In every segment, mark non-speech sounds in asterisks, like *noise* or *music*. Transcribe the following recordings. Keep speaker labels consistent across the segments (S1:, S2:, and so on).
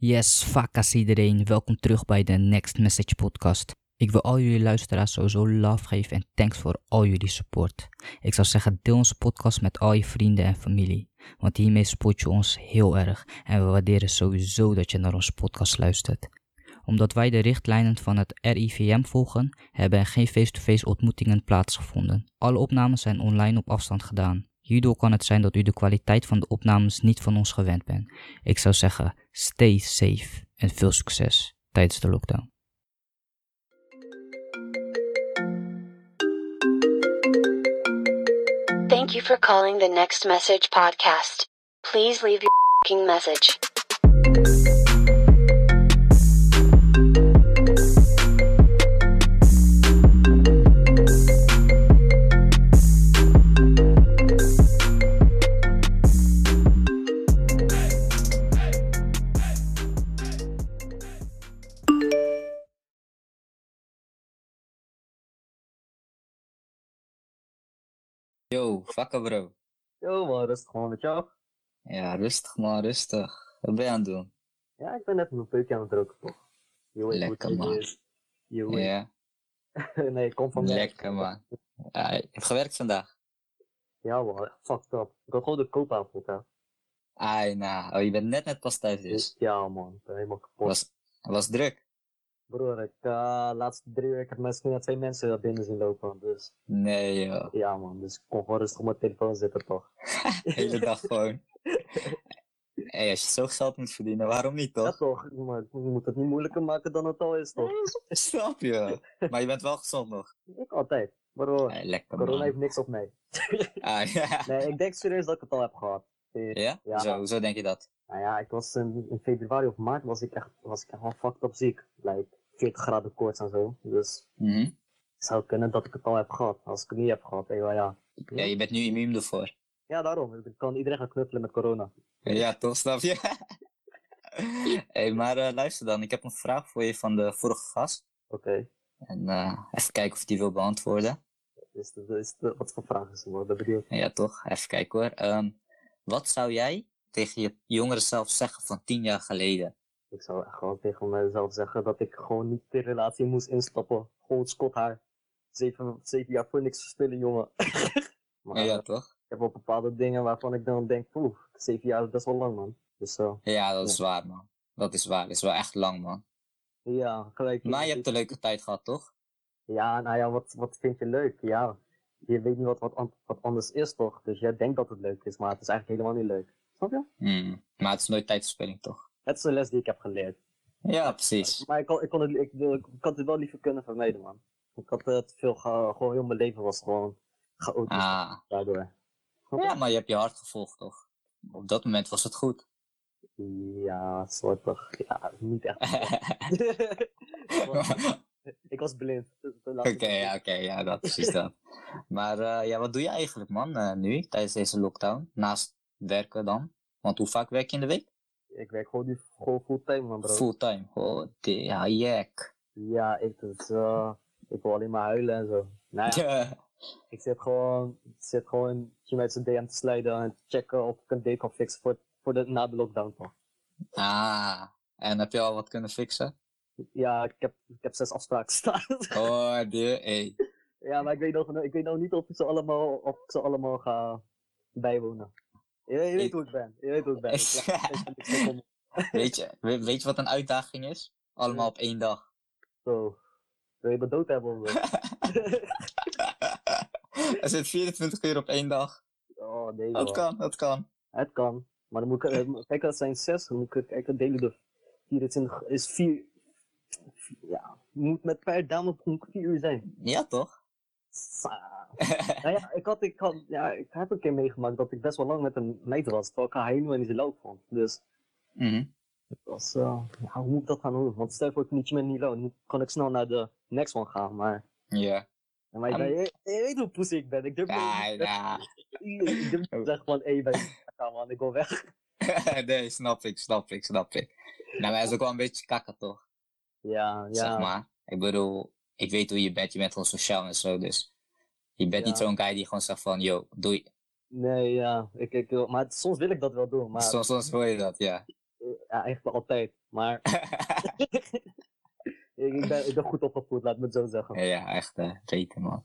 S1: Yes, vakkas iedereen. Welkom terug bij de Next Message podcast. Ik wil al jullie luisteraars sowieso love geven en thanks voor al jullie support. Ik zou zeggen, deel onze podcast met al je vrienden en familie. Want hiermee support je ons heel erg en we waarderen sowieso dat je naar onze podcast luistert. Omdat wij de richtlijnen van het RIVM volgen, hebben er geen face-to-face ontmoetingen plaatsgevonden. Alle opnames zijn online op afstand gedaan. Hierdoor kan het zijn dat u de kwaliteit van de opnames niet van ons gewend bent. Ik zou zeggen, stay safe en veel succes tijdens de lockdown.
S2: Thank you for calling the Next Message podcast. Please leave your fing message.
S1: Yo, vakken bro.
S3: Yo man, rustig man, met jou?
S1: Ja, rustig man, rustig. Wat ben je aan het doen?
S3: Ja, ik ben net een peukje aan het roken toch? Je weet hoe het
S1: Lekker, man.
S3: is. Je
S1: Ja,
S3: *laughs* weet. nee, kom van mij.
S1: lekker man. Ja, ik heb gewerkt vandaag.
S3: Ja man, echt fucked up. Ik had gewoon de koop aanvoeld hè.
S1: Ai, nou, oh, je bent net net pas thuis dus.
S3: Ja man, ik ben helemaal kapot.
S1: Was, was druk.
S3: Broer, ik eh, laatste drie weken heb misschien al twee mensen daar binnen zien lopen. Dus
S1: Nee joh,
S3: ja man, dus ik kon gewoon rustig op mijn telefoon zitten toch.
S1: de hele
S3: *laughs*
S1: dag gewoon. hey, als je zo geld moet verdienen, waarom niet
S3: Ja
S1: toch?
S3: toch, maar je moet het niet moeilijker maken dan het al is toch.
S1: Snap je? Maar je bent wel gezond nog.
S3: Ik altijd. Broer,
S1: Hey, lekker
S3: corona heeft
S1: man.
S3: niks op mij.
S1: Ah, *laughs* ja.
S3: Nee, ik denk serieus dat ik het al heb gehad.
S1: Ja?
S3: Ja.
S1: Zo, zo denk je dat.
S3: Nou ja, ik was in, in februari of maart was ik echt, was ik echt wel fucked up ziek. Like 40 graden koorts en zo. Dus
S1: Mhm.
S3: het zou kunnen dat ik het al heb gehad. Als ik het niet heb gehad, eh, wel ja.
S1: Ja, je bent nu immuun ervoor.
S3: Ja, daarom. Dan kan iedereen gaan knuffelen met corona.
S1: Ja, toch, snap je? *laughs* hey, maar eh, luister dan, ik heb een vraag voor je van de vorige gast.
S3: Oké.
S1: En eh, even kijken of die wil beantwoorden.
S3: Dus dat is de- wat voor vraag is er? Ik ben benieuwd.
S1: Ja, toch? Even kijken hoor. Ehm, wat zou jij tegen je jongere zelf zeggen van tien jaar geleden?
S3: Ik zou echt gewoon tegen mezelf zeggen dat ik gewoon niet de relatie moest instappen. Gewoon Scott haar. Zeven, zeven jaar voor niks verspillen, jongen. *laughs* maar eh,
S1: ja,
S3: ik
S1: toch?
S3: heb wel bepaalde dingen waarvan ik dan denk, poeh, zeven jaar is best wel lang, man. Dus zo.
S1: Ja, dat is waar, man. Dat is waar. Dat is wel echt lang, man.
S3: ja, gelijk.
S1: Maar je hebt een leuke tijd gehad, toch?
S3: Ja, nou ja, wat, wat vind je leuk? Ja, je weet niet wat, wat, an- wat anders is toch? Dus jij denkt dat het leuk is, maar het is eigenlijk helemaal niet leuk. Snap je?
S1: Hmm. Maar het is nooit tijdverspilling, toch?
S3: Het is een les die ik heb geleerd.
S1: Ja, precies.
S3: Maar ik, kon- ik, kon, het, ik, wil- ik had het wel liever kunnen vermijden, man. Ik had het veel, ge- gewoon heel mijn leven was gewoon chaotisch
S1: Ah.
S3: daardoor. Snap je?
S1: Ja, maar je hebt je hart gevolgd, toch? Op dat moment was het goed.
S3: Ja, soortig. Ja, niet
S1: *laughs*
S3: echt.
S1: Oké,
S3: ik was blind. Dus dat laat ik-
S1: ja, oké, ja, dat
S3: *laughs*
S1: precies dat. Maar eh, ja, wat doe je eigenlijk, man, eh, nu tijdens deze lockdown? Naast werken dan? Want hoe vaak werk je in de week?
S3: Ik werk gewoon nu gewoon fulltime, man, bro.
S1: Fulltime. Oh, de, ja, jek.
S3: Ja, ik, dus, eh, ik wil alleen maar huilen en zo. Nou ja, ik zit gewoon, ik zit gewoon je met z'n DM te sliden en te checken of ik een day kan fixen voor, voor de, na de lockdown toch.
S1: *laughs* Ah, en heb je al wat kunnen fixen?
S3: Ja, ik heb, ik heb zes afspraken staan. *laughs*
S1: Oh, de, hey.
S3: ja, maar ik weet, nog, ik weet nog niet of ik ze allemaal, of ik ze allemaal ga bijwonen. Je, weet- je weet
S1: Ik-
S3: hoe ik ben, je weet hoe ik ben. Ik- ik- ik- ik- ik-
S1: weet, je, we- weet je wat een uitdaging is? Allemaal op één dag. *laughs*
S3: Zo, wil je me dood hebben of wat?
S1: Er zit 24 uur op één dag.
S3: Oh nee
S1: Dat
S3: man,
S1: kan, dat kan.
S3: het kan. Maar dan moet ik, eh, kijk dat zijn zes, dan moet ik kijken delen door 24, is vier, ja, moet met per dame moet ik vier uur zijn.
S1: Ja, toch? *laughs*
S3: Sa- Nou ja, ik had, ik had, ja, ik heb een keer meegemaakt dat ik best wel lang met een meid was, terwijl ik haar helemaal niet zo leuk vond. Dus,
S1: Mhm.
S3: dat was, eh, ja, hoe moet ik dat gaan doen? Want stel voor ik niet meer niet leuk, dan kan ik snel naar de next one gaan, maar...
S1: Ja.
S3: *laughs* Ja, Maar ik
S1: Ja,
S3: ben, je, je weet hoe poes ik ben, ik durf
S1: Ja,
S3: niet
S1: ja.
S3: ik durf niet te zeggen van, hé, hey, ben je- ja, man, ik wil weg.
S1: *laughs* nee, snap ik, snap ik, snap ik. Nou, maar hij is ook wel een beetje kakker, toch?
S3: Ja, ja,
S1: Zeg maar. Ik bedoel, ik weet hoe je bent, je bent gewoon sociaal en zo, dus... Je bent
S3: Ja.
S1: niet zo'n guy die gewoon zegt van, yo, doei.
S3: nee, ja, ik, ik, wil- maar soms wil ik dat wel doen, maar *laughs*
S1: Soms, soms hoor je dat, ja.
S3: ja, eigenlijk altijd. Maar ik, ik ben, ik ben goed opgevoed, laat me het zo zeggen.
S1: ja, ja, echt, eh reten, man.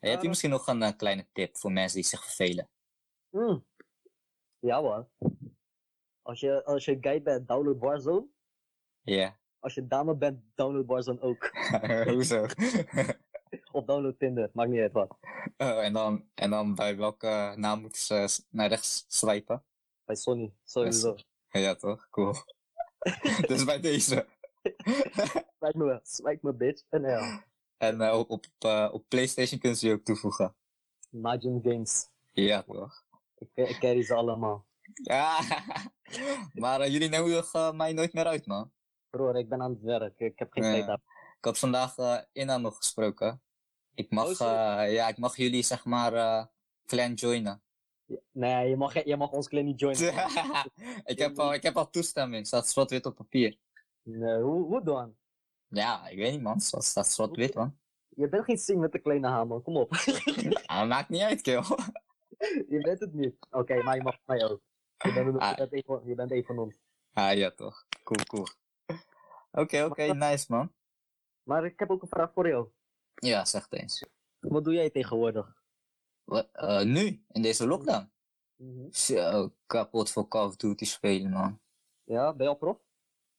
S1: Hey, heb je
S3: Eh.
S1: misschien nog een eh, kleine tip voor mensen die zich vervelen?
S3: Mm. Ja hoor. Als je, als je guy bent, download Warzone.
S1: Ja, *laughs*
S3: Als je dame bent, download Warzone ook.
S1: hoezo? *laughs*
S3: Of download Tinder, maakt niet uit wat.
S1: Oh, en, dan, en dan bij welke naam moeten ze s- naar rechts swipen?
S3: Bij Sony, sowieso.
S1: Ja, toch? Cool. *laughs* dus bij deze.
S3: Spijk me wel, spijk me bitch. En ja,
S1: en eh, op, op, eh, op PlayStation kunnen ze je ook toevoegen.
S3: Majin Games.
S1: Ja, toch?
S3: Ik, eh, ik carry ze allemaal.
S1: Ja. *laughs* maar eh, jullie nodigen eh, mij nooit meer uit, man.
S3: Broer, ik ben aan het werk, ik heb geen
S1: Ja.
S3: tijd aan.
S1: Ik had vandaag eh Inna nog gesproken. Ik mag,
S3: Oh, zo.
S1: eh, ja, ik mag jullie, zeg maar, eh clan joinen. *laughs*
S3: Nee, je mag, je mag ons clan niet joinen.
S1: ik, heb al, ik heb al toestemming, staat zwart-wit op papier.
S3: Nee, hoe, hoe dan?
S1: Ja, ik weet niet, man. Staat, staat zwart-wit, man.
S3: Je bent geen sing met de kleine hamer, kom op. *laughs*
S1: Ah, maakt niet uit, kill.
S3: je bent het niet. Oké, maar je mag mij ook. Je bent, een-
S1: Ah.
S3: je bent, een, van, je bent een van ons.
S1: *laughs* Ah ja, toch. Cool, cool. Oké, oké, nice man.
S3: Maar ik heb ook een vraag voor jou.
S1: Ja, zeg het eens.
S3: Wat doe jij tegenwoordig?
S1: Wat, eh, nu, in deze lockdown?
S3: Mhm.
S1: Zo, kapot voor Call of Duty spelen, man.
S3: Ja, ben je al prof?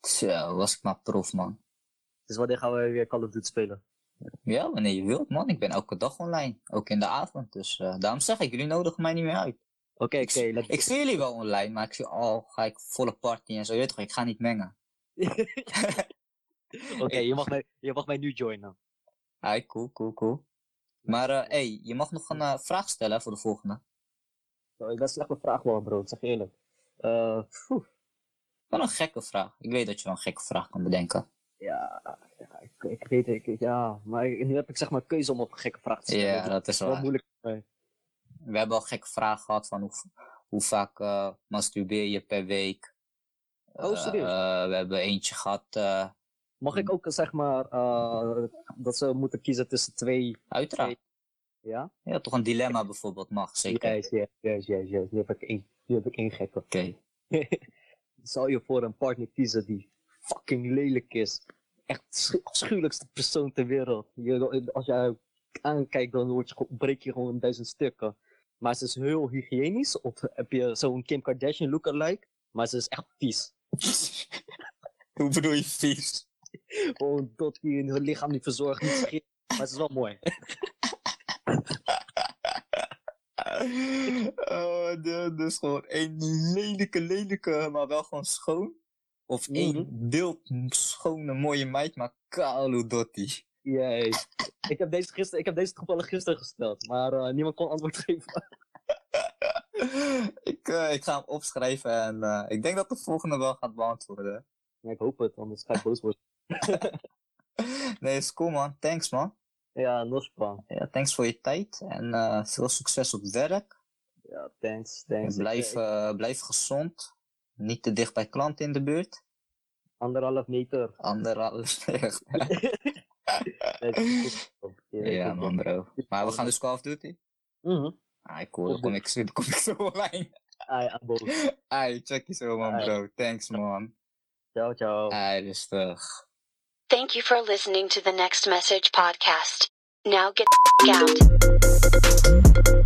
S1: Zo, was ik maar prof, man.
S3: Dus wanneer gaan we weer Call of Duty spelen?
S1: Ja, wanneer je wilt, man. Ik ben elke dag online. Ook in de avond. Dus eh, daarom zeg ik, jullie nodigen mij niet meer uit.
S3: Oké,
S1: Ik
S3: oké.
S1: zie-
S3: let's-
S1: Ik zie jullie wel online, maar ik zie al, ga ik volle party en zo. Je weet toch, ik ga niet mengen.
S3: Oké, je, mag mij- je mag mij nu joinen.
S1: Hi, cool, cool, cool. Maar eh hey, je mag nog een eh, vraag stellen hè, voor de volgende.
S3: Zo, Oh, ik ben slecht met vraag man, bro. Zeg je eerlijk. Eh, phew.
S1: Wel een gekke vraag. Ik weet dat je wel een gekke vraag kan bedenken.
S3: ja, ja, ik, ik weet het. ik- ja, maar ik- nu heb ik zeg maar keuze om op gekke vragen te
S1: Ja,
S3: stellen. dat
S1: dat is
S3: is wel
S1: waar.
S3: moeilijk voor mij.
S1: We hebben al gekke vragen gehad van hoe, hoe vaak eh, masturbeer je per week.
S3: Oh, serieus?
S1: Eh, we hebben eentje gehad. eh,
S3: Mag ik ook eh, zeg maar eh, dat ze moeten kiezen tussen twee?
S1: uiteraard.
S3: Ja?
S1: Ja, toch een dilemma bijvoorbeeld mag, zeker.
S3: Yes, yes, yes, yes, yes. Nu heb ik één, nu heb ik één gekke.
S1: Oké.
S3: Zou je voor een partner kiezen die fucking lelijk is? Echt schu- afschuwelijkste persoon ter wereld. Je, als jij aankijkt, dan word je, ge- breek je gewoon in duizend stukken. Maar ze is heel hygiënisch. Of heb je zo'n Kim Kardashian lookalike. Maar ze is echt vies.
S1: hoe bedoel je vies?
S3: Gewoon tot die in hun lichaam niet verzorgd, niet schreeuwt. Maar ze is wel mooi.
S1: oh, Eh, de- dus gewoon één lelijke, lelijke, maar wel gewoon schoon. Of één beeld schone, mooie meid, maar kalo dotti.
S3: Yes. Ik heb deze, gister, ik heb deze toevallig gisteren gesteld. Maar eh, niemand kon antwoord geven.
S1: *laughs* ik, eh, ik ga hem opschrijven en eh, ik denk dat de volgende wel gaat beantwoorden.
S3: Ja, ik hoop het, anders ga ik boos worden.
S1: Nee, is cool man. Thanks man.
S3: Ja, Nospa.
S1: Ja, thanks voor je tijd en eh, veel succes op werk.
S3: Ja, thanks,
S1: En
S3: thanks.
S1: blijf, eh, blijf gezond. Niet te dicht bij klanten in de buurt.
S3: Anderhalf meter.
S1: *laughs* Anderhalf.
S3: Dat is goed. Je weet
S1: *laughs* ja
S3: het
S1: man
S3: wel.
S1: bro. Maar we gaan dus Call of Duty.
S3: Mhm.
S1: Ah, cool. Dan kom *laughs* ik, dan kom ik zo online.
S3: Ai, abo.
S1: Ai, check je zo man
S3: Ai.
S1: bro. Thanks man.
S3: Ciao, ciao.
S1: Ai, rustig.
S2: Thank you for listening to the Next Message podcast. Now get the f- out.